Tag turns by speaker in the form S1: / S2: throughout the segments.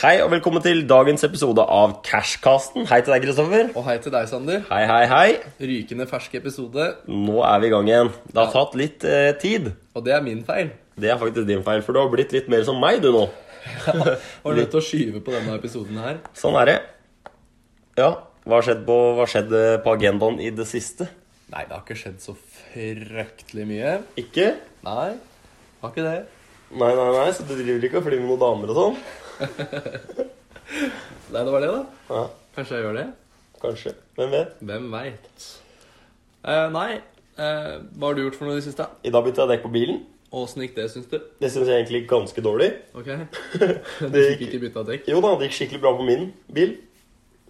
S1: Hei og velkommen til dagens episode av Cashcasten. Hei til deg, Kristoffer.
S2: Og hei til deg, Sander.
S1: Hei, hei, hei.
S2: Rykende fersk episode,
S1: Nå er vi i gang igjen. Det har tatt litt eh, tid.
S2: og det er min feil.
S1: Det er faktisk din feil, for du har blitt litt mer som meg, du nå.
S2: Var nødt til å skyve på denne episoden her.
S1: Sånn er det. Ja, hva har skjedd på, hva har skjedd eh, på agendaen i det siste?
S2: Nei, det har ikke skjedd så fryktelig mye.
S1: Ikke?
S2: Nei, har ikke det.
S1: Nei, nei, nei, så du driver ikke og flyr med noen damer og sånn?
S2: Nei, det var det, da.
S1: Ja,
S2: Kanskje jeg gjør det.
S1: kanskje. Hvem vet?
S2: Hvem veit. Eh, nei, eh, hva har du gjort for noe i det siste?
S1: I dag bytta jeg dekk på bilen.
S2: Åssen gikk det, syns du?
S1: Det syns jeg egentlig gikk ganske dårlig.
S2: Ok, Du
S1: Det
S2: fikk ikke bytta dekk?
S1: Jo da, det gikk skikkelig bra på min bil.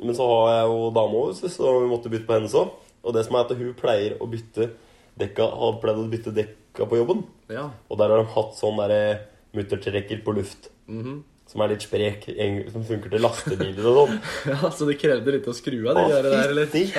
S1: Men så har jeg jo dame over, så- så vi måtte bytte på hennes òg. Og det som er at hun pleier å bytte dekka, har pleid å bytte dekka på jobben.
S2: Ja.
S1: Og der har de hatt sånn derre muttertrekker på luft.
S2: Mhm.
S1: Som er litt sprek, eng- som funker til lastebiler og sånn.
S2: ja, Så det krevde litt å skru av de
S1: Å,
S2: der, der, eller?
S1: Fytti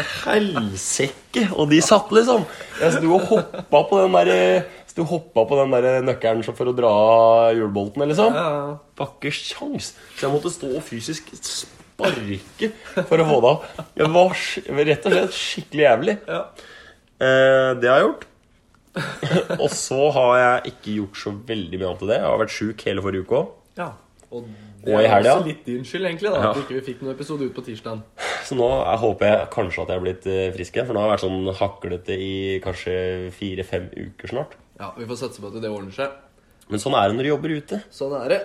S1: helsike! Og de satt, liksom. Jeg sto og hoppa på den der, eh, sto og hoppa på den der nøkkelen så for å dra av hjulbolten, liksom.
S2: Ja, ja.
S1: Bakker sjans Så jeg måtte stå og fysisk sparke For å få det av Jeg var sk- jeg var rett og slett skikkelig jævlig
S2: ja.
S1: eh, Det har jeg gjort Og så har jeg ikke gjort så veldig mye annet til det Jeg har vært syk hele forrige uke også
S2: ja. Og det
S1: Og i
S2: er
S1: helga.
S2: også litt din skyld, egentlig, da,
S1: Ja.
S2: at vi ikke fikk noen episode ut på tirsdag.
S1: Så nå jeg håper jeg kanskje at jeg har blitt eh, frisk igjen For nå har jeg vært sånn haklete i kanskje 4-5 uker snart
S2: Ja, Vi får satse på at det ordner seg.
S1: Men sånn er det når du jobber ute
S2: Sånn er det.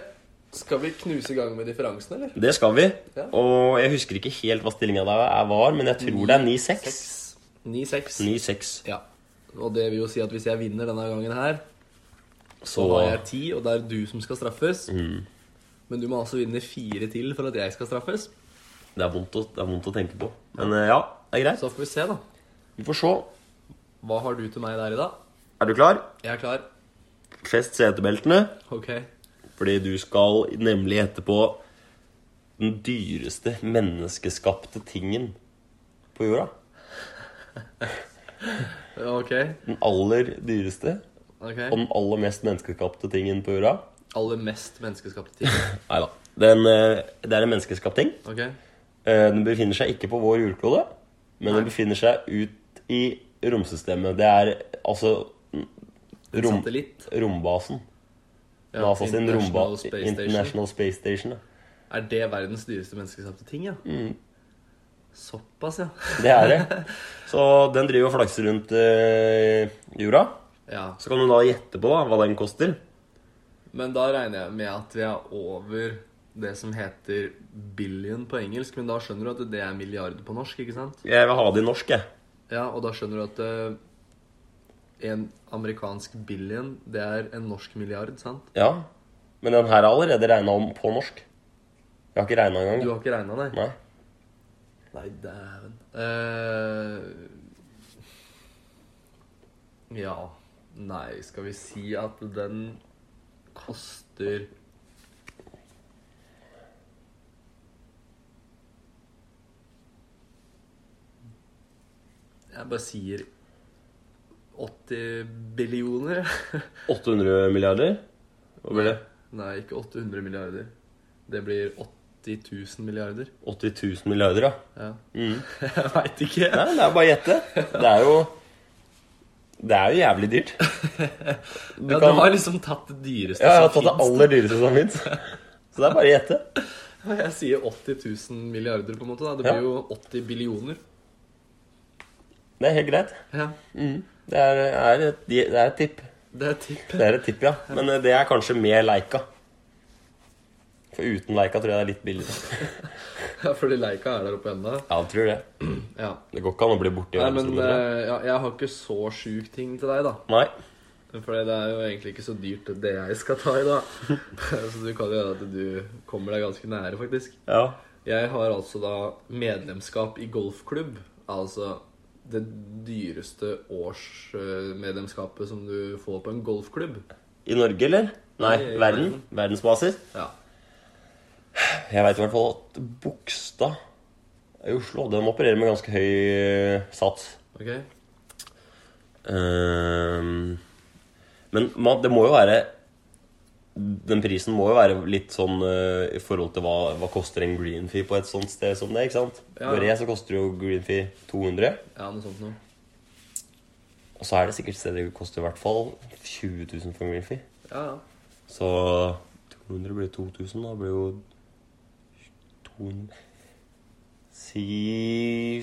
S2: Skal vi knuse i gang med differansen, eller?
S1: Det skal vi
S2: Ja.
S1: Og jeg husker ikke helt hva stillingen der er- var Men jeg tror det er 9-6
S2: 9-6.
S1: 9-6
S2: Ja. Og det vil jo si at hvis jeg vinner denne gangen her, så
S1: Så Mm.
S2: har jeg 10, og det er du som skal straffes. Men du må altså vinne fire til for at jeg skal straffes.
S1: Det er vondt å, det er vondt å tenke på. Men eh, ja, det er greit.
S2: Så får vi se, da.
S1: Vi får se.
S2: Hva har du til meg der i dag?
S1: Er du klar?
S2: Jeg er klar.
S1: Fest setebeltene,
S2: Ok.
S1: fordi du skal nemlig etterpå den dyreste menneskeskapte tingen på jorda.
S2: Ok.
S1: Den aller dyreste
S2: ok.
S1: og den aller mest menneskeskapte tingen på jorda.
S2: Aller mest menneskeskapte ting.
S1: Nei da. Den, eh, det er en menneskeskapt ting.
S2: Ok.
S1: Eh, Den befinner seg ikke på vår jordklode, men den befinner seg ut i romsystemet. Det er altså
S2: En
S1: rom-
S2: satellitt.
S1: rombasen.
S2: Ja,
S1: NASA sin
S2: International
S1: romba
S2: Space Station.
S1: International Space Station. ja.
S2: Er det verdens dyreste menneskeskapte ting, ja?
S1: Mm.
S2: Såpass, ja.
S1: Det er det. Så den driver og flakser rundt eh, jorda.
S2: ja.
S1: Så kan du da gjette på da, hva den koster.
S2: Men da regner jeg med at vi er over det som heter billion på engelsk, men da skjønner du at det er milliard på norsk, ikke sant?
S1: Jeg vil ha det i norsk, jeg.
S2: Ja, og da skjønner du at eh, en amerikansk billion, det er en norsk milliard, sant?
S1: Ja. Men den her er allerede regna om på norsk. Jeg har ikke regna
S2: Du
S1: engang.
S2: har ikke regna, nei?
S1: Nei.
S2: Nei, dæven. Eh, ja. Nei, skal vi si at den koster Jeg bare sier 80 billioner.
S1: 800 milliarder? Hva blir det?
S2: Nei, ikke 800 milliarder. Det blir 80 000 milliarder.
S1: 80 000 milliarder, ja.
S2: Ja.
S1: Mm.
S2: Jeg veit ikke.
S1: Nei, det er bare å gjette. Det er jo Det er jo jævlig dyrt. Du
S2: ja,
S1: kan-
S2: du har liksom tatt det dyreste
S1: Ja, jeg har
S2: som
S1: tatt det
S2: finnes.
S1: aller dyreste som fins. Så det er bare å gjette.
S2: Ja, Jeg sier 80 000 milliarder, på en måte. da. Det
S1: Ja.
S2: blir jo 80 billioner.
S1: Det er helt greit.
S2: Ja,
S1: Mm. Det er, er et, det er et tipp.
S2: Det er tipp.
S1: Det er et tipp, ja. Men eh, det er kanskje med Leica. For uten Leica tror jeg det er litt billigere.
S2: Ja, fordi Leica er der oppe ennå.
S1: Ja, jeg tror det.
S2: Ja.
S1: Det går ikke an å bli borti
S2: Nei,
S1: verden
S2: men
S1: som tror.
S2: eh, ja, jeg har ikke så sjuk ting til deg, da.
S1: Nei.
S2: For det er jo egentlig ikke så dyrt det jeg skal ta i, da. så du kan jo gjøre at du kommer deg ganske nære, faktisk.
S1: Ja.
S2: Jeg har altså da medlemskap i golfklubb. Altså det dyreste årsmedlemskapet som du får på en golfklubb.
S1: I Norge, eller? Nei,
S2: Nei, i
S1: verden.
S2: verden.
S1: Verdensbasis.
S2: Ja.
S1: Jeg veit i hvert fall at Bogstad i Oslo de opererer med ganske høy eh, sats.
S2: Ok?
S1: Ehm, men man, det må jo være den prisen må jo være litt sånn eh, i forhold til hva, hva koster en green fee på et sånt sted som det, ikke sant?
S2: Ja.
S1: På Re så koster jo green fee 200,
S2: Ja, noe sånt noe.
S1: og så er det sikkert steder det koster i hvert fall 20 000 for en green fee.
S2: Ja, ja.
S1: Så 200 blir 2000, da blir jo 200 Si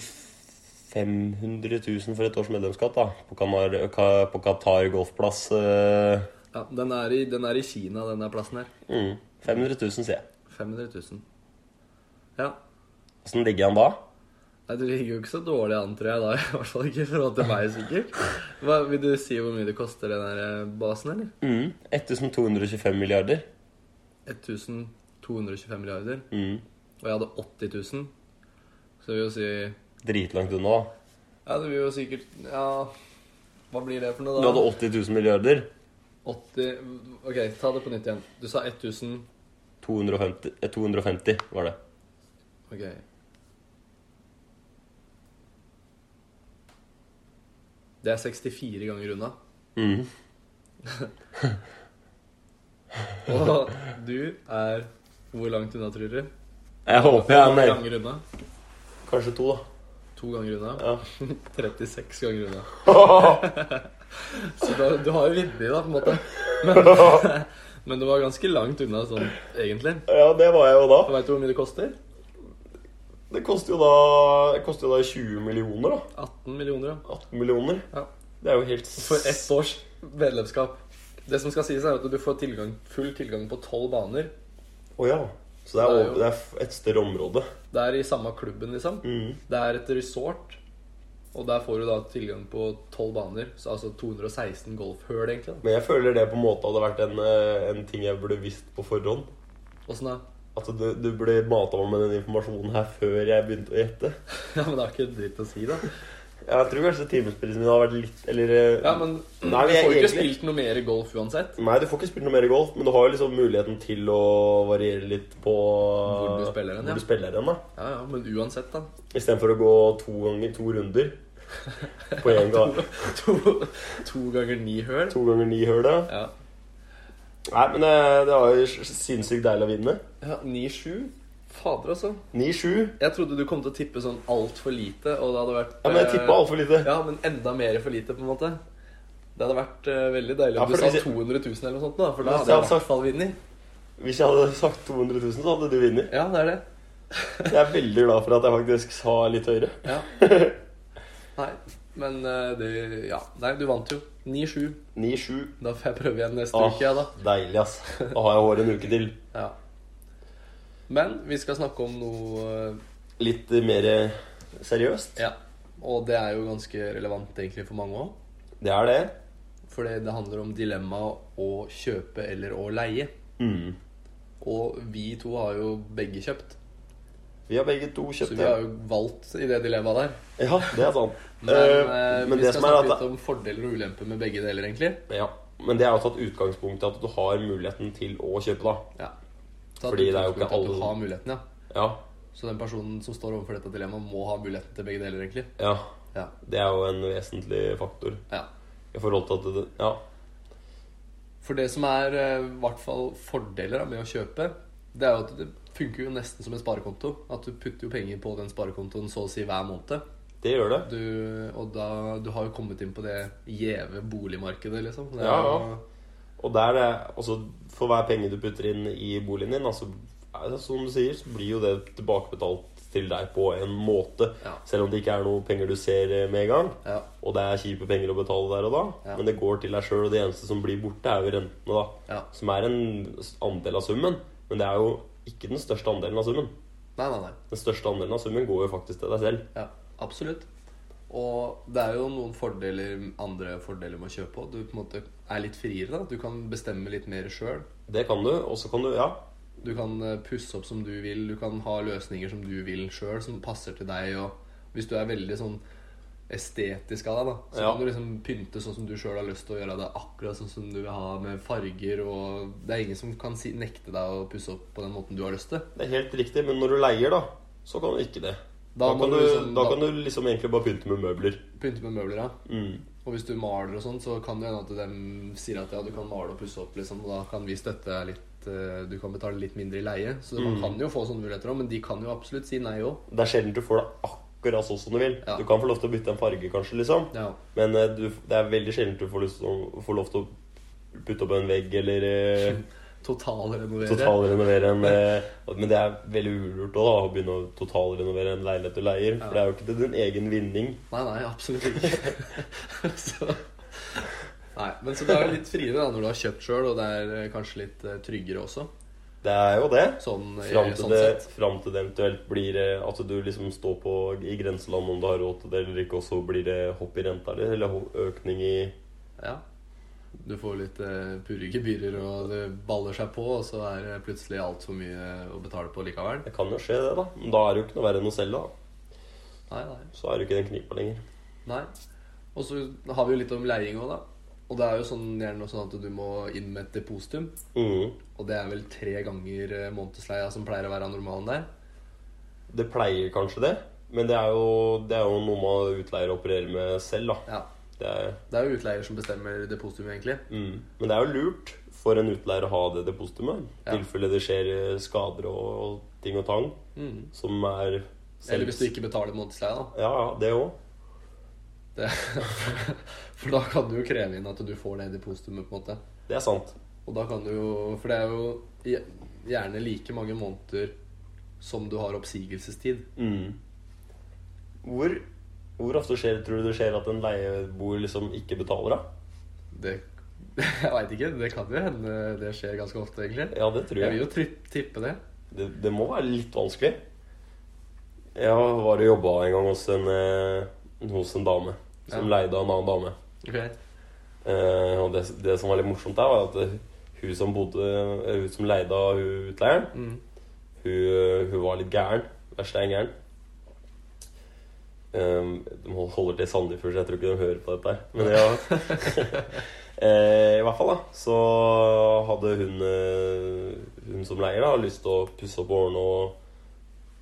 S1: 500 000 for et års medlemskap, da. På, Kanar, Ka- på Qatar golfplass. eh,
S2: ja den, er i, den er i Kina, den der plassen her.
S1: mm, 500 000, sier jeg.
S2: 500 000. Ja.
S1: Åssen ligger han da?
S2: Nei, Du ligger jo ikke så dårlig an, tror jeg, da. I hvert fall ikke i forhold til meg, sikkert. Hva, vil du si hvor mye det koster, den der eh, basen, eller?
S1: Mm, 1225 milliarder.
S2: 1225 milliarder.
S1: Mm,
S2: Og jeg hadde 80 000. Så det vil jo si Ja,
S1: dritlangt unna, da.
S2: det vil jo sikkert Ja, hva blir det for noe,
S1: Du
S2: da?
S1: hadde 80 000 milliarder.
S2: 80 OK, ta det på nytt igjen. Du sa 1000
S1: 250, eh, 250 var det.
S2: OK. Det er 64 ganger unna.
S1: Mm.
S2: Og du er hvor langt unna, tror du?
S1: Jeg håper jeg er
S2: Hvor
S1: nær.
S2: ganger unna?
S1: Kanskje to, da.
S2: To ganger unna.
S1: Ja.
S2: 36 ganger unna. Så da, du har jo vunnet, da, på en måte. Men, men du var ganske langt unna sånn, egentlig.
S1: ja, det var jeg jo da.
S2: Veit du hvor mye det koster?
S1: Det koster jo da, det koster jo da 20 millioner, da.
S2: 18 millioner, ja.
S1: 18 millioner.
S2: Ja.
S1: Det er jo helt s-
S2: For ett års medlemskap. Det som skal sies, er at du får tilgang, full tilgang på tolv baner.
S1: Å ja. Så det er,
S2: Det er
S1: over-
S2: jo-
S1: det er f- et større område.
S2: Det er i samme klubben, liksom.
S1: Mm.
S2: Det er et resort. Og der får du da tilgang på tolv baner. Så altså 216 golfhull, egentlig. da.
S1: Men jeg føler det på en måte hadde vært en, eh, en ting jeg burde visst på forhånd.
S2: Åssen da? sånn
S1: At du, du ble mata meg med den informasjonen her før jeg begynte å gjette.
S2: Ja, men det har ikke dritt å si, da.
S1: Jeg tror kanskje timesprisen min har vært litt Eller eh,
S2: Ja, men du
S1: Nei,
S2: får
S1: men jeg
S2: jo ikke
S1: egentlig-
S2: spilt noe mer golf uansett.
S1: Nei, du får ikke spilt noe mer golf, men du har jo liksom muligheten til å variere litt på
S2: du spiller den,
S1: hvor
S2: ja.
S1: du spiller den, da.
S2: Ja, ja, men uansett, da.
S1: Istedenfor å gå to ganger to runder på én gang.
S2: To, to ganger ni høl.
S1: To ganger ni hull, ja.
S2: Ja.
S1: Nei, men det, det var jo s- sinnssykt deilig å vinne.
S2: ja 9-7. Fader, altså.
S1: 9-7.
S2: Jeg trodde du kom til å tippe sånn altfor lite, og det hadde vært
S1: Ja, men jeg
S2: eh,
S1: tippa altfor lite.
S2: Ja, men enda mer for lite, på en måte. Det hadde vært eh, veldig deilig
S1: Ja,
S2: om
S1: for
S2: du sa
S1: hvis jeg-
S2: 200 000 eller noe sånt, da, for da
S1: Ja,
S2: hadde jeg i
S1: altså-
S2: hvert fall vunnet.
S1: Hvis jeg hadde sagt 200 000, så hadde du vunnet.
S2: Ja, det er det.
S1: Jeg er veldig glad for at jeg faktisk sa litt høyere.
S2: Ja. Nei, men eh, det Ja. Nei, du vant jo. 9-7.
S1: 9-7.
S2: Da får jeg prøve igjen neste
S1: Åh,
S2: uke, jeg, da.
S1: deilig, ass. Da har jeg håret en uke til.
S2: Ja. Men vi skal snakke om noe eh,
S1: Litt eh, mer eh, seriøst.
S2: Ja. Og det er jo ganske relevant egentlig for mange òg.
S1: Det er det.
S2: For det det handler om dilemmaet å kjøpe eller å leie.
S1: Mm.
S2: Og vi to har jo begge kjøpt,
S1: Vi har begge to
S2: så
S1: kjøpt
S2: vi har jo valgt i det dilemmaet der.
S1: Ja, det er sant.
S2: Men, eh,
S1: Eh, men
S2: vi
S1: det
S2: skal
S1: som er
S2: snakke
S1: at
S2: litt om fordeler og ulemper med begge deler, egentlig.
S1: ja, Men det er jo tatt utgangspunkt i at du har muligheten til å kjøpe, da.
S2: Ja. Så at
S1: Fordi det er jo ikke
S2: utgangspunktet at
S1: alle-
S2: Du har muligheten, ja.
S1: Ja.
S2: Så den personen som står overfor dette dilemmaet, må ha muligheten til begge deler, egentlig.
S1: ja.
S2: Ja.
S1: Det er jo en vesentlig faktor
S2: ja.
S1: i forhold til at det Ja.
S2: For det som er eh, i hvert fall fordeler da, med å kjøpe, det er jo at det funker jo nesten som en sparekonto. At du putter jo penger på den sparekontoen så å si hver måned.
S1: Det gjør det.
S2: Du, og da, du har jo kommet inn på det gjeve boligmarkedet, liksom. Det er
S1: Ja,
S2: jo-
S1: ja. Og der er altså, For hver penge du putter inn i boligen din, altså, er det som du sier, så blir jo det tilbakebetalt til deg på en måte.
S2: Ja.
S1: Selv om det ikke er noe penger du ser eh, med en gang.
S2: ja.
S1: Og det er kjipe penger å betale der og da,
S2: Ja.
S1: men det går til deg sjøl. Og det eneste som blir borte, er jo rentene, da.
S2: Ja.
S1: Som er en s- andel av summen, men det er jo ikke den største andelen av summen.
S2: Nei, nei, nei.
S1: Den største andelen av summen går jo faktisk til deg selv.
S2: Ja, absolutt. Og det er jo noen fordeler, andre fordeler med å kjøpe òg. Du på en måte er litt friere. da Du kan bestemme litt mer sjøl.
S1: Det kan du, og så kan du Ja.
S2: Du kan eh, pusse opp som du vil. Du kan ha løsninger som du vil sjøl, som passer til deg. Og hvis du er veldig sånn estetisk av deg, da så
S1: Ja.
S2: kan du liksom pynte sånn som du sjøl har lyst til å gjøre det. Akkurat sånn som du vil ha, med farger og Det er ingen som kan si, nekte deg å pusse opp på den måten du har lyst til.
S1: Det er helt riktig, men når du leier, da, så kan du ikke det.
S2: Da
S1: Da,
S2: må
S1: kan,
S2: du
S1: du,
S2: liksom-
S1: da
S2: da-
S1: kan du liksom egentlig bare pynte med møbler.
S2: Pynte med møbler, ja.
S1: Mm.
S2: Og Og hvis du maler og sånn, så kan det hende at de sier at ja, du kan male og pusse opp, liksom, og da kan vi støtte deg litt eh, Du kan betale litt mindre i leie. Så
S1: Mm.
S2: man kan jo få sånne muligheter òg, men de kan jo absolutt si nei òg.
S1: Det er sjelden du får det akkurat sånn som du vil.
S2: Ja.
S1: Du kan få lov til å bytte en farge, kanskje, liksom.
S2: Ja.
S1: Men eh, du, det er veldig sjelden du får, lyst til å, får lov til å putte opp en vegg eller eh,
S2: Totalrenovere.
S1: totalrenovere en eh, Men det er veldig ulurt også, da, å begynne å totalrenovere en leilighet du leier.
S2: Ja.
S1: For det er jo ikke til din egen vinning.
S2: Nei, nei, absolutt ikke. så Nei, men så det er jo litt friere da når du har kjøpt sjøl, og det er eh, kanskje litt eh, tryggere også.
S1: Det er jo det.
S2: Sånn, eh,
S1: Fram til,
S2: sånn
S1: det,
S2: sett.
S1: fram til det eventuelt blir eh, at du liksom står på i grenseland om du har råd til det eller ikke, og så blir det hopp i renta eller, eller ho- økning i
S2: Ja. Du får litt eh, purre gebyrer, og det baller seg på, og så er det plutselig altfor mye å betale på likevel.
S1: Det kan jo skje, det, da. Men da er det jo ikke noe verre enn å selge, da.
S2: Nei, nei.
S1: Så er det jo ikke den knipa lenger.
S2: nei. Og så har vi jo litt om leiing òg, da. Og det er jo sånn, gjerne sånn at du må inn med et depositum.
S1: Mm.
S2: Og det er vel tre ganger eh, månedsleia som pleier å være normalen der.
S1: Det pleier kanskje det, men det er jo, det er jo noe man utleier opererer med selv, da.
S2: Ja.
S1: Det er,
S2: Det er jo utleier som bestemmer depositumet, egentlig.
S1: mm. Men det er jo lurt for en utleier å ha det depositumet. I
S2: Ja.
S1: tilfelle det skjer eh, skader og, og ting og tang
S2: Mm.
S1: som er
S2: Eller hvis du ikke betaler månedsleie, da.
S1: Ja, ja, det òg.
S2: Det, for da kan du jo kreve inn at du får det depositumet, på en måte.
S1: Det er sant.
S2: Og da kan du jo For det er jo gje- gjerne like mange måneder som du har oppsigelsestid.
S1: Mm. Hvor, hvor ofte skjer, tror du det skjer at en leieboer liksom ikke betaler, da?
S2: Det Jeg veit ikke. Det kan jo hende det skjer ganske ofte, egentlig.
S1: Ja, det tror
S2: Jeg
S1: jeg.
S2: vil jo tri tippe det.
S1: Det, det må være litt vanskelig. Jeg var og jobba en gang hos en, eh, hos en dame som
S2: Ja.
S1: leide av en annen dame.
S2: Ok.
S1: Eh, og det, det som var litt morsomt der, var at det- hun som, bodde, eh, hun som leide av hun utleieren,
S2: Mm.
S1: hun, hun var litt gæren. Verstein gæren. Um, de hold- holder til i Sandefjord, så jeg tror ikke de hører på dette her. Men ja. Eh, I hvert fall, da. Så hadde hun eh, Hun som leier da lyst til å pusse opp årene og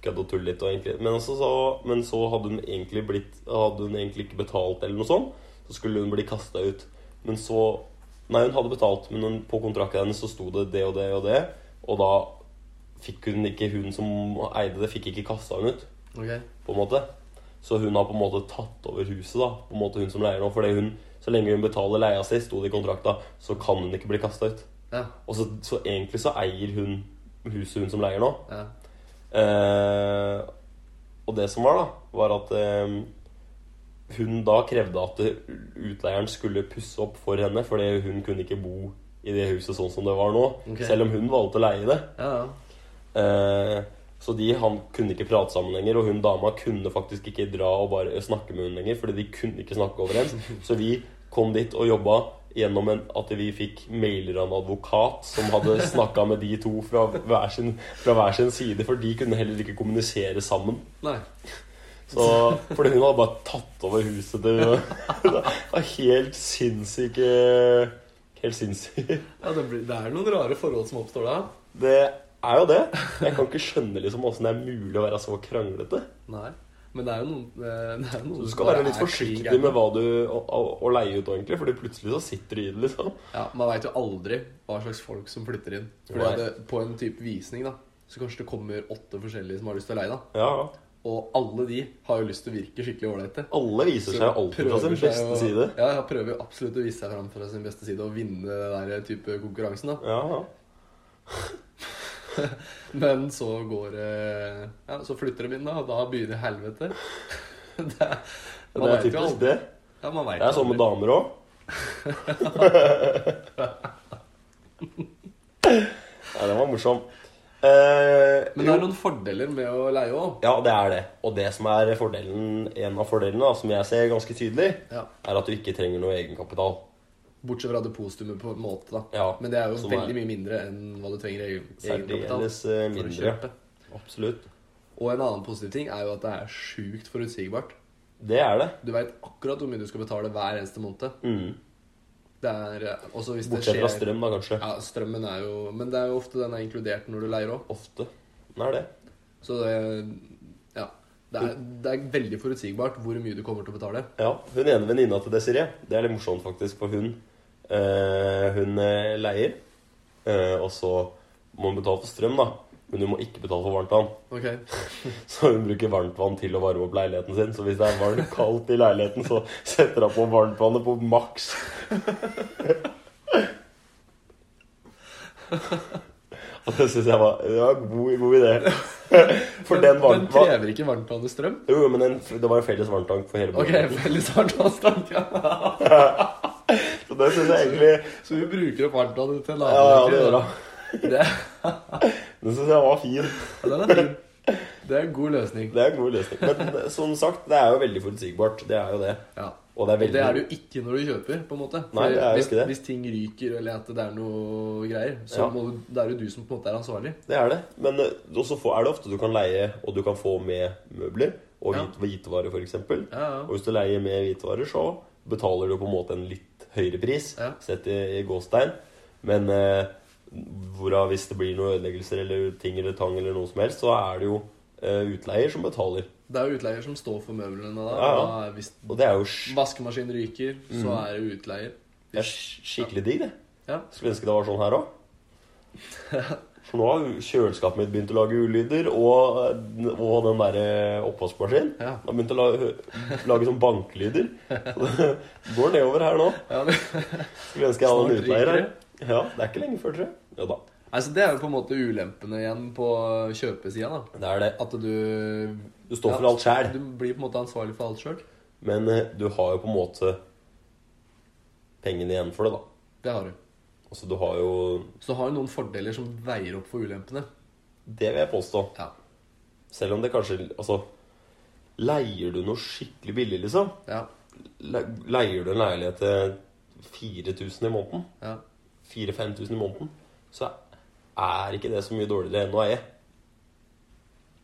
S1: kødde og tulle litt. Og egentlig, men, også så, men så hadde hun egentlig blitt Hadde hun egentlig ikke betalt, eller noe sånt. Så skulle hun bli kasta ut. Men så Nei, hun hadde betalt, men hun, på kontrakten hennes så sto det det og det og det. Og da fikk hun ikke Hun som eide det, fikk ikke kasta hun ut,
S2: Ok.
S1: på en måte. Så hun har på en måte tatt over huset, da. På en måte hun som leier nå. Fordi hun, så lenge hun betaler leia si, sto det i kontrakta, så kan hun ikke bli kasta ut.
S2: Ja.
S1: Og så, så egentlig så eier hun huset hun som leier nå.
S2: ja.
S1: Eh, og det som var, da, var at eh, hun da krevde at utleieren skulle pusse opp for henne, fordi hun kunne ikke bo i det huset sånn som det var nå.
S2: Ok.
S1: Selv om hun valgte å leie det.
S2: Ja, ja.
S1: Eh, så de han kunne ikke prate sammen lenger, og hun dama kunne faktisk ikke dra og bare snakke med hun lenger, fordi de kunne ikke snakke overens. Så vi kom dit og jobba gjennom en, at vi fikk mailer av en advokat som hadde snakka med de to fra hver, sin, fra hver sin side, for de kunne heller ikke kommunisere sammen.
S2: Nei.
S1: Så, fordi hun hadde bare tatt over huset til Det var helt sinnssyke Helt sinnssykt.
S2: Ja, det, blir, det er noen rare forhold som oppstår da.
S1: Det er jo det. Jeg kan ikke skjønne liksom åssen det er mulig å være så kranglete.
S2: Nei. Men det er jo noen, eh, det er jo noen
S1: Du
S2: som
S1: skal
S2: bare
S1: være litt
S2: er
S1: forsiktig
S2: krigerne.
S1: med hva du å, å, å leie ut, egentlig, Fordi plutselig så sitter du i det. liksom
S2: Ja, Man veit jo aldri hva slags folk som flytter inn. Fordi
S1: Nei.
S2: at det, På en type visning da så kanskje det kommer åtte forskjellige som har lyst til å leie deg.
S1: Ja,
S2: Og alle de har jo lyst til å virke skikkelig ålreite.
S1: Alle viser seg jo alltid fra sin
S2: prøver seg
S1: beste
S2: å-
S1: side.
S2: Ja, ja, prøver jo absolutt å vise seg fram fra sin beste side og vinne den der type konkurransen. da
S1: Ja, ja.
S2: Men så går eh, Ja, så flytter de inn, da, og da begynner helvete. Det er,
S1: Det er
S2: vet jo
S1: typisk
S2: aldri.
S1: det.
S2: Ja, man vet
S1: Det er sånn med
S2: aldri.
S1: damer òg. Nei, den var morsom. Eh,
S2: Men det er noen fordeler med å leie òg.
S1: Ja, det er det. Og det som er fordelen, en av fordelene, da, som jeg ser ganske tydelig,
S2: Ja.
S1: er at du ikke trenger noe egenkapital.
S2: Bortsett fra depositumet, på en måte. da
S1: Ja,
S2: Men det er jo
S1: som
S2: veldig
S1: er-
S2: mye mindre enn hva du trenger i egen- egenkapital
S1: Særdeles eh,
S2: for å
S1: mindre.
S2: kjøpe.
S1: Absolutt.
S2: Og en annen positiv ting er jo at det er sjukt forutsigbart.
S1: Det er det.
S2: Du veit akkurat hvor mye du skal betale hver eneste måned.
S1: Mm.
S2: Det er, eh, også hvis det
S1: Bortsett fra
S2: skjer
S1: strøm, da, kanskje.
S2: ja, Strømmen er jo Men det er jo ofte den er inkludert når du leier òg.
S1: Ofte. Den er det.
S2: Så det Ja. Det er, det er veldig forutsigbart hvor mye du kommer til å betale.
S1: Ja, Hun ene venninna til Desiree, det er litt morsomt faktisk, for hun, eh, hun eh, leier. Eh, og så må hun betale for strøm, da. Men hun må ikke betale for varmtvann.
S2: Ok,
S1: Så hun bruker varmtvann til å varme opp leiligheten sin. Så hvis det er varmt kaldt i leiligheten, så setter hun på varmtvannet på maks. Og det syns jeg var det var en god, god idé. For den
S2: Men
S1: varmtvann...
S2: krever ikke varmtvannet strøm?
S1: Jo, jo, men den, det var en felles varmtvann for hele
S2: Ok,
S1: boligen.
S2: felles varmtvannet strøm. Ja.
S1: Så det syns jeg egentlig
S2: Så vi bruker opp varmtvannet til
S1: Ja, ja, det gjør hun.
S2: det. det.
S1: Den syns jeg var fin.
S2: Ja, den er fin. Det er en god løsning.
S1: Det er en god løsning. Men eh, som sagt, det er jo veldig forutsigbart. Det er jo det.
S2: Ja.
S1: Og det er
S2: Og
S1: veldig
S2: det er det jo ikke når du kjøper, på en måte.
S1: Nei, det er jo
S2: hvis,
S1: ikke det.
S2: hvis ting ryker, eller at det er noe greier, så
S1: Ja.
S2: må du, det er jo du som på en måte er ansvarlig.
S1: Det er det. Men eh, også få- er det ofte du kan leie, og du kan få med møbler og
S2: Ja.
S1: hvit, hvitvarer, f.eks. Og
S2: Ja, ja.
S1: hvis du leier med hvitvarer, så betaler du på en måte en litt høyere pris,
S2: Ja.
S1: sett i, i gåstein. Men eh, hvorav hvis det blir noen ødeleggelser eller ting eller tang eller noe som helst, så er det jo eh, utleier som betaler.
S2: Det er jo utleier som står for møblene da.
S1: Ja, Mm. ja.
S2: da er- hvis
S1: Og det er jo sk-
S2: vaskemaskinen ryker, så er det jo utleier.
S1: det er sk- skikkelig digg, det.
S2: Ja.
S1: Skulle ønske det var sånn her òg. For nå har jo kjøleskapet mitt begynt å lage ulyder, og, og den der eh, oppvaskmaskinen
S2: Ja.
S1: har begynt å la, lage sånn banklyder. Så det går nedover her nå.
S2: Ja, det,
S1: Skulle ønske jeg hadde en
S2: Snart
S1: utleier her.
S2: ryker
S1: Ja, Det er ikke lenge før, tror jeg. Ja da.
S2: altså, det er jo på en måte ulempene igjen på kjøpesida. da.
S1: Det er det.
S2: At du
S1: Du står for alt sjæl,
S2: Du blir på en måte ansvarlig for alt sjøl.
S1: men eh, du har jo på en måte pengene igjen for det, da.
S2: Det har du.
S1: Altså, du har jo
S2: Så du har jo noen fordeler som veier opp for ulempene.
S1: Det vil jeg påstå.
S2: Ja.
S1: Selv om det kanskje Altså, leier du noe skikkelig billig, liksom?
S2: Ja.
S1: Le leier du en leilighet til 4000 i måneden,
S2: ja.
S1: 4000-5000 i måneden, så er ikke det så mye dårligere enn å eie.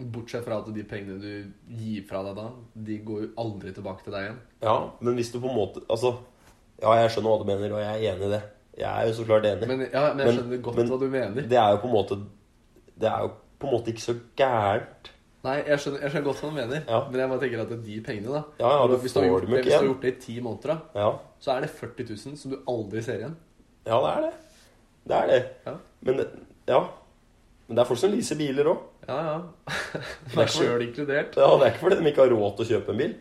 S2: Bortsett fra at de pengene du gir fra deg da, de går jo aldri tilbake til deg igjen.
S1: Ja, men hvis du på en måte Altså, ja, jeg skjønner hva du mener, og jeg er enig i det. Jeg er jo så klart enig.
S2: Men, ja, men jeg
S1: Men-
S2: skjønner godt
S1: men-
S2: hva du mener.
S1: det er jo på en måte Det er jo på en måte ikke så gærent.
S2: Nei, jeg skjønner, jeg skjønner godt hva du mener,
S1: Ja.
S2: men jeg bare tenker at de pengene, da
S1: Ja, ja, du
S2: Hvis du har
S1: får
S2: gjort
S1: dem
S2: det,
S1: ikke
S2: hvis du har
S1: igjen.
S2: gjort det i ti måneder, da,
S1: Ja,
S2: så er det 40 000 som du aldri ser igjen.
S1: ja det er det. Det er det.
S2: Ja,
S1: Men ja. Men det er folk som leaser biler òg.
S2: ja. ja. Meg sjøl inkludert.
S1: Ja, det er ikke fordi de ikke har råd til å kjøpe en bil.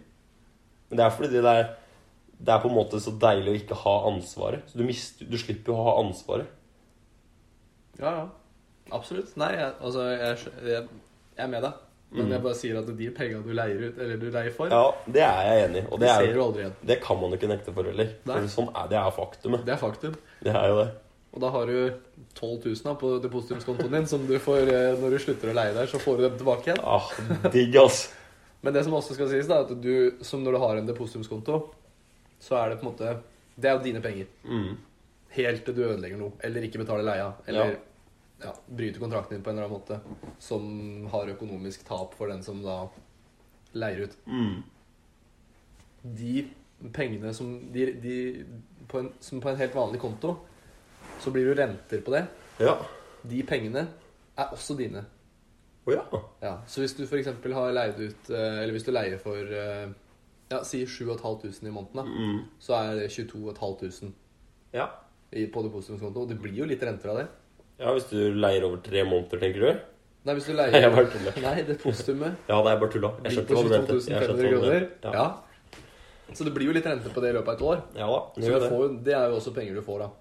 S1: Men det er fordi det er, det er på en måte så deilig å ikke ha ansvaret. Så du, mister, du slipper jo å ha ansvaret.
S2: Ja, ja. Absolutt. Nei, jeg, altså, jeg, skjø- jeg, jeg er med deg. Men jeg bare sier at de pengene du leier ut, eller du leier for,
S1: Mm. Ja, det er jeg enig i. Og
S2: de
S1: det,
S2: ser
S1: er,
S2: du aldri igjen.
S1: det kan man jo ikke nekte for heller.
S2: Nei.
S1: For sånn er det er faktumet.
S2: Det er faktum.
S1: Det er jo det.
S2: Og da har du 12 000 da, på depositumskontoen din, som du får eh, når du slutter å leie der, så får du dem tilbake igjen.
S1: Ah, digg, ass.
S2: Men det som også skal sies, da, er at du, som når du har en depositumskonto, så er det på en måte Det er jo dine penger.
S1: Mm.
S2: Helt til du ødelegger noe, eller ikke betaler leia, eller
S1: Ja.
S2: ja. bryter kontrakten din på en eller annen måte, som har økonomisk tap for den som da leier ut.
S1: Mm.
S2: De pengene som de, de på en, Som på en helt vanlig konto, så blir det jo renter på det.
S1: Ja.
S2: De pengene er også dine.
S1: Å ja.
S2: Ja, Så hvis du f.eks. har leid ut eh, Eller hvis du leier for eh, ja, si 7500 i måneden, da,
S1: Mm.
S2: så er det 22500
S1: ja.
S2: i- på depositumskonto. Og det blir jo litt renter av det.
S1: Ja, hvis du leier over tre måneder, tenker du?
S2: Nei, hvis du
S1: Nei,
S2: leier
S1: jeg bare tuller.
S2: Nei, depositumet
S1: Ja, det er bare tulla. Jeg
S2: blir
S1: skjønte hva
S2: på
S1: du mente.
S2: 22
S1: Jeg
S2: 500
S1: skjønte hva du
S2: kroner.
S1: mente.
S2: Ja.
S1: Ja.
S2: Så det blir jo litt rente på det i løpet av et år.
S1: ja da. det
S2: Så
S1: gjør
S2: du
S1: det.
S2: får, jo- det er jo også penger du får, da.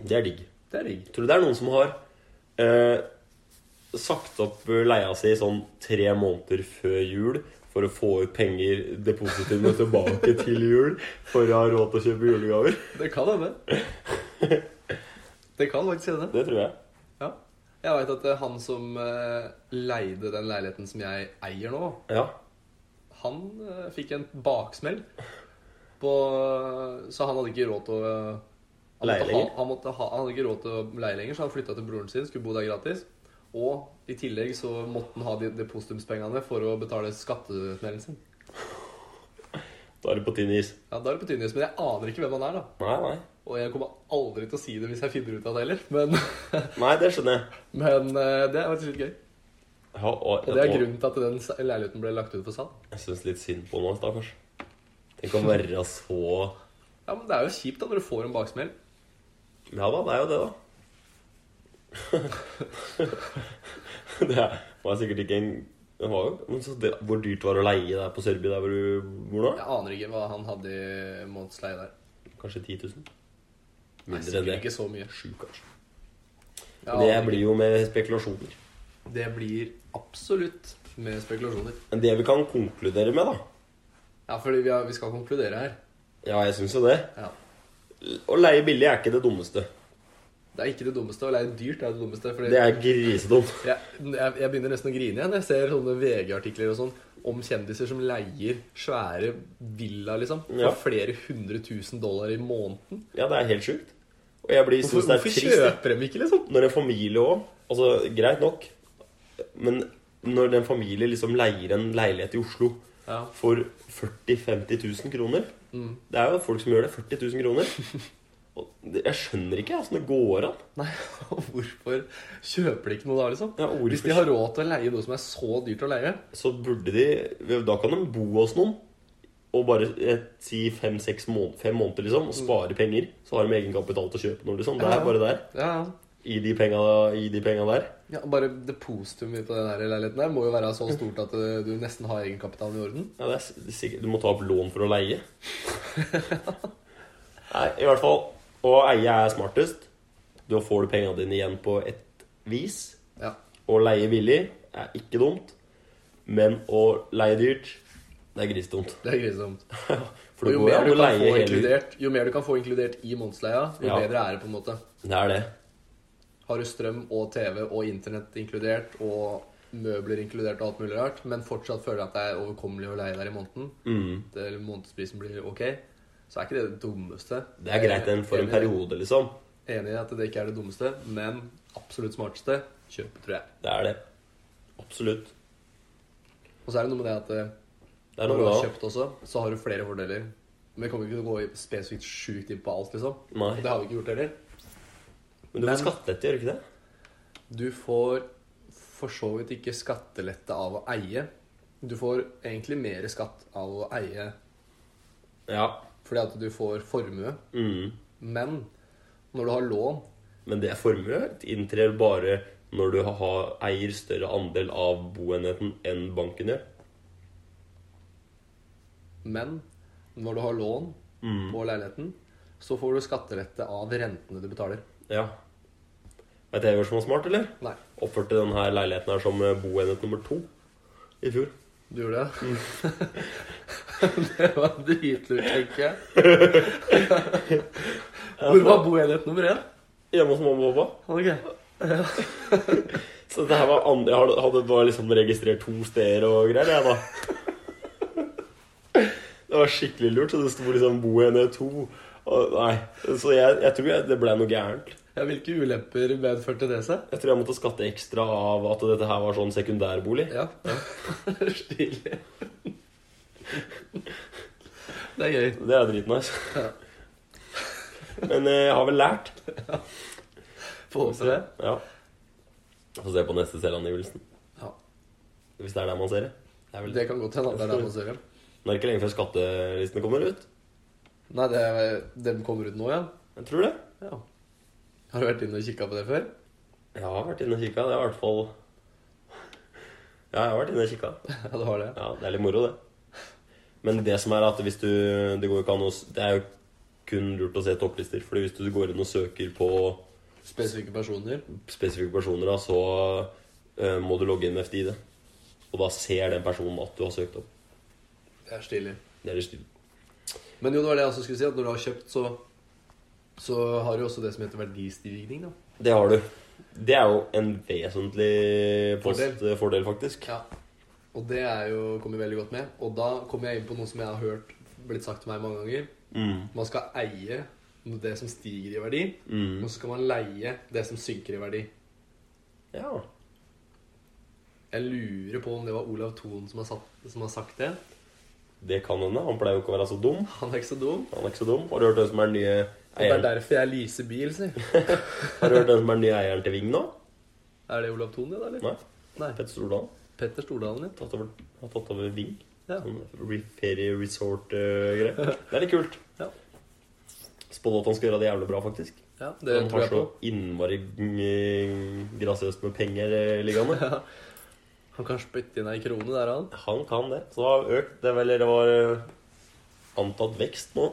S1: Det er digg.
S2: Det er digg.
S1: Tror du det er noen som har eh, sagt opp leia si sånn tre måneder før jul for å få ut penger, depositumet, tilbake til jul for å ha råd til å kjøpe julegaver?
S2: Det kan hende. Det kan faktisk hende.
S1: Det tror jeg.
S2: Ja. Jeg veit at eh, han som eh, leide den leiligheten som jeg eier nå,
S1: Ja.
S2: han eh, fikk en baksmell. På, så han hadde ikke råd til å eh, han
S1: Leie
S2: måtte ha,
S1: lenger?
S2: han, måtte ha, han hadde ikke råd til å leie lenger, så han flytta til broren sin, skulle bo der gratis. Og i tillegg så måtte han ha de depositumspengene for å betale skattesmellen sin.
S1: Da er det på tynn is.
S2: Ja, Da er det på tynn is, men jeg aner ikke hvem han er, da.
S1: Nei, nei.
S2: Og jeg kommer aldri til å si det hvis jeg finner ut av det heller. Men,
S1: Nei, det skjønner jeg.
S2: men eh, det er faktisk litt gøy.
S1: Ja, og,
S2: Og det er grunnen til at den s- leiligheten ble lagt ut for salg.
S1: Jeg syns litt synd på meg, stakkars. Tenk å være så
S2: Ja, men Det er jo kjipt da når du får en baksmell.
S1: Ja da, det er jo det, da. det er- var sikkert ikke en det var jo, men så det, Hvor dyrt var det å leie der på Sørby, der hvor du bor nå?
S2: Jeg aner ikke hva han hadde i månedsleie der.
S1: Kanskje 10 000? Mindre
S2: Nei,
S1: enn
S2: sikkert
S1: det.
S2: ikke så mye.
S1: Sju, kanskje.
S2: Jeg
S1: det
S2: aner
S1: blir jo med spekulasjoner.
S2: ikke. det blir absolutt med spekulasjoner.
S1: Men det vi kan konkludere med, da
S2: Ja, fordi vi, har, vi skal konkludere her.
S1: Ja, jeg syns jo det.
S2: Ja.
S1: Å leie billig er ikke det dummeste.
S2: Det er ikke det dummeste. Å leie dyrt er det dummeste. Fordi
S1: Det er grisedumt.
S2: jeg, jeg, jeg begynner nesten å grine igjen. Jeg ser sånne VG-artikler og sånn om kjendiser som leier svære villa, liksom. For
S1: Ja.
S2: flere hundre tusen dollar i måneden.
S1: Ja, det er helt sjukt. Og jeg blir
S2: Hvorfor,
S1: syns det er
S2: hvorfor
S1: trist. jeg.
S2: kjøper de ikke, liksom?
S1: Når en familie òg Altså, greit nok, men når en familie liksom leier en leilighet i Oslo
S2: Ja.
S1: for 40 000-50 000 kroner Det er jo folk som gjør det. 40 000 kroner. Og det- jeg skjønner ikke åssen det går an.
S2: Nei, hvorfor kjøper de ikke noe da, liksom?
S1: Ja, hvorfor-
S2: Hvis de har råd til å leie noe som er så dyrt å leie,
S1: Så burde de Da kan de bo hos noen og bare eh, si fem-seks måneder, fem måneder liksom, og spare penger. Så har de egenkapital til å kjøpe noe. liksom Det
S2: Ja,
S1: er
S2: ja.
S1: bare der.
S2: ja, ja.
S1: I de penga, i de penga der.
S2: Ja, Bare depositumet på den her leiligheten der må jo være så stort at eh, du nesten har egenkapitalen i orden.
S1: Ja, det er s- sikkert, Du må ta opp lån for å leie. Nei, i hvert fall. Å eie er smartest. Da får du pengene dine igjen på et vis.
S2: Ja.
S1: Å leie billig er ikke dumt. Men å leie dyrt, det er grisedumt.
S2: Det er grisomt.
S1: For
S2: Og
S1: det
S2: jo
S1: går jo an
S2: mer, du
S1: å
S2: kan
S1: leie
S2: få
S1: hele
S2: inkludert, jo mer du kan få inkludert i månedsleia, jo
S1: Ja.
S2: bedre er det på en måte.
S1: Det er det.
S2: Har du strøm og TV og internett inkludert og møbler inkludert og alt mulig rart, men fortsatt føler at det er overkommelig å leie der i måneden,
S1: Mm.
S2: det- eller månedsprisen blir ok, så er ikke det det dummeste.
S1: Det er greit en for en
S2: Enig-
S1: periode, liksom.
S2: Enig i at det ikke er det dummeste, men absolutt smarteste kjøpe, tror jeg.
S1: Det er det. Absolutt.
S2: Og så er det noe med det at eh,
S1: Det er
S2: når du
S1: noe
S2: har
S1: da.
S2: kjøpt også, så har du flere fordeler. Men vi kommer ikke til å gå i- spesifikt sjukt inn på alt, liksom.
S1: Nei.
S2: Og det har vi ikke gjort heller.
S1: Men du
S2: Men-
S1: får skattelette, gjør du ikke det?
S2: Du får for så vidt ikke skattelette av å eie. Du får egentlig mer skatt av å eie
S1: Ja.
S2: fordi at du får formue.
S1: Mm.
S2: Men når du har lån
S1: Men det er formue inntrer bare når du har, eier større andel av boenheten enn banken gjør.
S2: Men når du har lån
S1: Mm.
S2: på leiligheten, så får du skattelette av rentene du betaler.
S1: Ja. Vet jeg hva som var smart, eller?
S2: Nei,
S1: Oppførte denne leiligheten her som eh, boenhet nummer to i fjor.
S2: du gjorde det? det var dritlurt, tenker jeg. Hvor var boenhet nummer én?
S1: Hjemme hos mamma og pappa.
S2: Ok.
S1: Så det her var andre, jeg hadde- hadde bare liksom registrert to steder og greier, jeg, da. Det var skikkelig lurt, så det sto liksom boenhet to. Og, nei, så jeg, jeg tror jeg, det ble noe gærent.
S2: Ja, hvilke ulemper medførte det seg?
S1: Jeg tror jeg måtte skatte ekstra av at dette her var sånn sekundærbolig.
S2: Ja. Stilig. Det er gøy.
S1: Det er dritnice.
S2: Ja.
S1: Men eh, jeg har vel lært.
S2: Få håpe det.
S1: Ja. Få se på neste selvangivelsen.
S2: Ja.
S1: Hvis det er der man ser det. Det er vel
S2: Det kan godt hende at det er der man ser dem.
S1: Nå er det ikke lenge før skattelistene kommer ut.
S2: Nei, det, dem kommer ut nå, ja.
S1: Jeg tror det.
S2: ja. Har du vært inne og kikka på det før?
S1: Jeg har vært inne og kikka. Det er i hvert fall Ja, jeg har vært inne og kikka.
S2: Ja, du har det.
S1: Ja, det er litt moro, det. Men det som er at hvis du Det går jo ikke an å s- Det er jo kun lurt å se topplister. Fordi hvis du går inn og søker på
S2: Spesifikke personer.
S1: spesifikke personer, da, så eh, må du logge inn med FDID. Og da ser den personen at du har søkt opp.
S2: Det er stilig.
S1: Det er litt stilig.
S2: Men jo, det var det jeg også skulle si, at når du har kjøpt, så, så har du også det som heter verdistigning, da.
S1: Det har du. Det er jo en vesentlig post,
S2: Fordel.
S1: eh, fordel, faktisk.
S2: Ja. Og det er jo, kommer veldig godt med. Og da kommer jeg inn på noe som jeg har hørt blitt sagt til meg mange ganger.
S1: Mm.
S2: Man skal eie det som stiger i verdi,
S1: Mm.
S2: og så skal man leie det som synker i verdi.
S1: ja.
S2: Jeg lurer på om det var Olav Thon som har, satt, som har sagt det.
S1: Det kan hende. Han pleier jo ikke å være så dum.
S2: Han er ikke så dum.
S1: Han er ikke så dum. Har du hørt hvem som er den nye
S2: Og det er
S1: eieren,
S2: derfor jeg leaser bil, si.
S1: Har du hørt hvem som er den nye eieren til Ving nå?
S2: Er det Olav Thon, det, da? eller?
S1: Nei.
S2: Nei.
S1: Petter Stordalen.
S2: Petter Stordalen, ja.
S1: Tatt over, har tatt over Ving.
S2: Ja.
S1: Sånn re- ferie resort-greier. det er litt kult.
S2: Ja.
S1: Spådde at han skulle gjøre det jævlig bra, faktisk.
S2: ja det
S1: han
S2: tror
S1: har
S2: jeg på.
S1: så innmari mm, grasiøst med penger eh, liggende.
S2: Ja. Han kan spytte inn ei krone der, han.
S1: Han kan det. Så det har økt det, var- Eller det var eh, antatt vekst nå.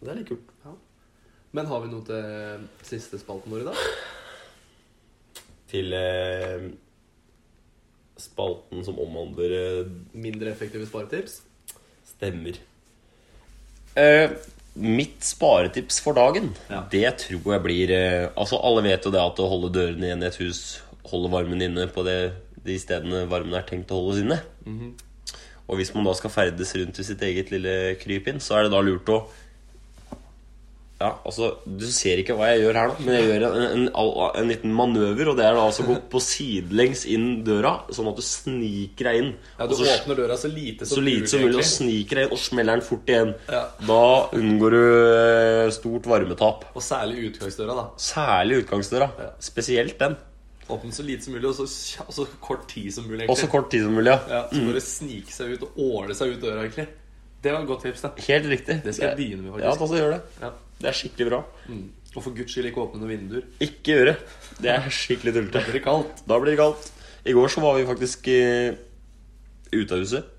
S1: Det er litt kult.
S2: Men har vi noe til siste spalten vår i dag?
S1: Til eh, spalten som omhandler eh,
S2: Mindre effektive sparetips?
S1: Stemmer. Eh, mitt sparetips for dagen,
S2: Ja.
S1: det tror jeg blir eh, Altså, alle vet jo det at å holde dørene igjen i et hus, holde varmen inne på det, de stedene varmen er tenkt å holdes inne.
S2: Mhm.
S1: Og hvis man da skal ferdes rundt i sitt eget lille krypinn, så er det da lurt å ja, altså, Du ser ikke hva jeg gjør her, nå men jeg gjør en, en, en, en liten manøver. Og det er da altså å gå på sidelengs inn døra, sånn at du sniker deg inn.
S2: Ja,
S1: og
S2: du
S1: så
S2: åpner døra så lite som
S1: så lite som mulig, og sniker deg inn og smeller den fort igjen.
S2: Ja.
S1: Da unngår du eh, stort varmetap.
S2: Og særlig utgangsdøra, da.
S1: Særlig utgangsdøra.
S2: Ja.
S1: Spesielt den.
S2: Åpne så lite som mulig, og så, kja- og så kort tid som mulig.
S1: Og så Mm. kort tid som mulig. Ja.
S2: Ja, så bare snike seg ut og åle seg ut døra, egentlig. Det var et godt tips, da.
S1: Helt riktig.
S2: Det skal jeg begynne med,
S1: Ja, ta
S2: faktisk.
S1: så gjør det.
S2: Ja.
S1: Det er skikkelig bra.
S2: Mm. Og for guds skyld ikke åpne noen vinduer.
S1: Ikke gjøre. Det er skikkelig
S2: Da
S1: tullete.
S2: blir det kaldt.
S1: Da blir det kaldt. I går så var vi faktisk eh, ute av huset.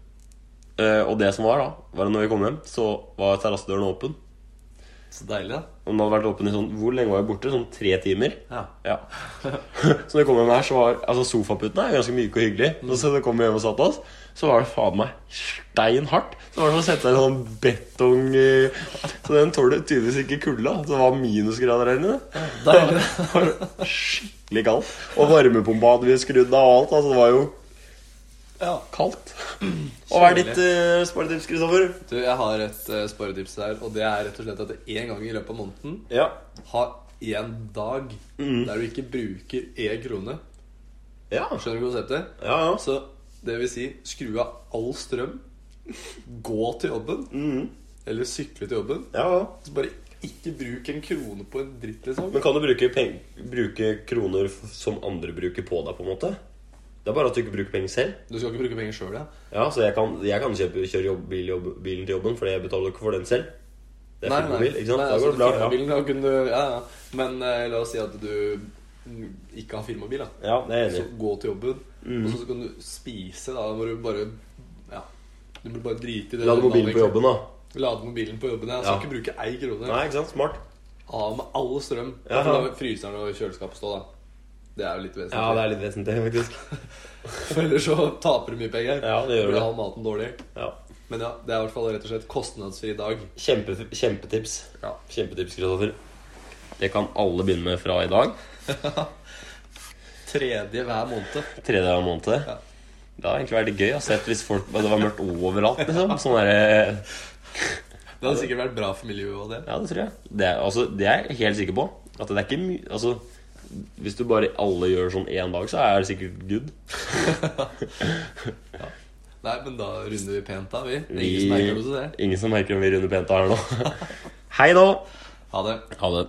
S1: Eh, og det som var, da, var at når vi kom hjem, så var terrassedøren åpen.
S2: Så deilig, da.
S1: Og den hadde vært åpen i sånn Hvor lenge var jeg borte? Sånn tre timer.
S2: Ja.
S1: Ja. Så når jeg kom hjem her, så var altså sofaputene er jo ganske myke og hyggelige.
S2: Mm.
S1: Og så da jeg kom hjem og satt oss, så var det faen meg stein hardt. Så var det som å sette deg i en sånn betong eh, Så den tåler tydeligvis ikke kulda. Så det var minusgrader her inne.
S2: Deilig.
S1: Det var skikkelig kaldt. Og varmepumpa hadde vi skrudd av og alt. Altså det var jo
S2: Ja.
S1: kaldt.
S2: Mm.
S1: Og hva er ditt uh, sparetips, Kristoffer?
S2: Du, jeg har et uh, sparetips der, og det er rett og slett at én gang i løpet av måneden
S1: Ja.
S2: ha én dag
S1: Mm.
S2: der du ikke bruker én krone.
S1: Ja,
S2: Skjønner du konseptet?
S1: ja. ja.
S2: Så det vil si skru av all strøm, gå til jobben, eller sykle til jobben.
S1: Mm. ja, ja.
S2: Så bare ikke bruk en krone på en dritt, liksom.
S1: Men kan du bruke, peng bruke kroner f- som andre bruker på deg, på en måte? Det er bare at du ikke bruker penger selv.
S2: Du skal ikke bruke penger sjøl, ja.
S1: Ja, så jeg kan, jeg kan kjøpe, kjøre jobb, bil, jobb, bilen til jobben, Fordi jeg betaler jo ikke for den selv. Det er full mobil, ikke sant? da går det bra. Ja.
S2: firmabilen, altså, da kunne du Ja, ja. Men eh, la oss si at du mm, ikke har firmabil, da.
S1: ja, det er jeg
S2: Så
S1: enig Mm. i.
S2: gå til jobben, og så kan du spise. Da må du bare Ja. Du må bare drite i det.
S1: Lade mobilen på
S2: Liksom.
S1: jobben, da.
S2: Lade mobilen på jobben, ja. Skal
S1: Ja.
S2: ikke bruke ei krone.
S1: Nei, ikke sant? Smart.
S2: Av med all strøm.
S1: Ja.
S2: Ja. La fryseren og kjøleskapet stå, da. Det er jo litt vesentlig.
S1: Ja, det er litt vesentlig, faktisk.
S2: For ellers så taper du mye penger.
S1: Ja, det gjør
S2: Blir
S1: det.
S2: all maten dårlig.
S1: Ja.
S2: Men ja, det er i hvert fall rett og slett kostnadsfri dag.
S1: Kjempe, kjempetips.
S2: Ja.
S1: Kjempetips, Kristoffer. Det kan alle begynne med fra i dag.
S2: Tredje hver måned.
S1: Tredje av måneden.
S2: Ja.
S1: Det hadde egentlig vært gøy å se hvis folk, det var mørkt overalt. liksom Sånn der,
S2: Det hadde sikkert vært bra for miljøet og det.
S1: Ja, det tror jeg. Det er, altså, det er jeg helt sikker på. At det er ikke mye Altså, hvis du bare alle gjør sånn én dag, så er det sikkert good.
S2: Nei, men da runder vi pent av, vi. Det er
S1: Vi-
S2: Ingen som merker noe til det.
S1: Ingen som merker om vi runder pent av her nå. Hei nå!
S2: Ha det.
S1: Ha det.